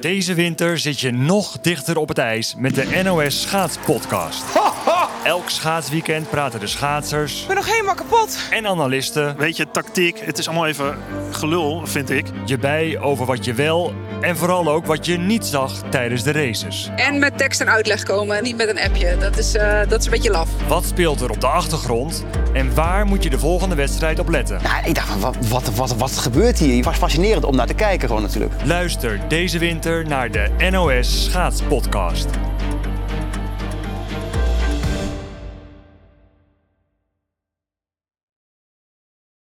Deze winter zit je nog dichter op het ijs met de NOS Schaatspodcast. Elk schaatsweekend praten de schaatsers Ik ben nog helemaal kapot. en analisten Weet je, tactiek, het is allemaal even gelul, vind ik. je bij over wat je wel en vooral ook wat je niet zag tijdens de races. En met tekst en uitleg komen, niet met een appje. Dat is, eh, dat is een beetje laf. Wat speelt er op de achtergrond en waar moet je de volgende wedstrijd op letten? Ja, ik dacht, van, wat, wat, wat, wat gebeurt hier? Het was fascinerend om naar te kijken gewoon natuurlijk. Luister deze winter naar de NOS Schaatspodcast.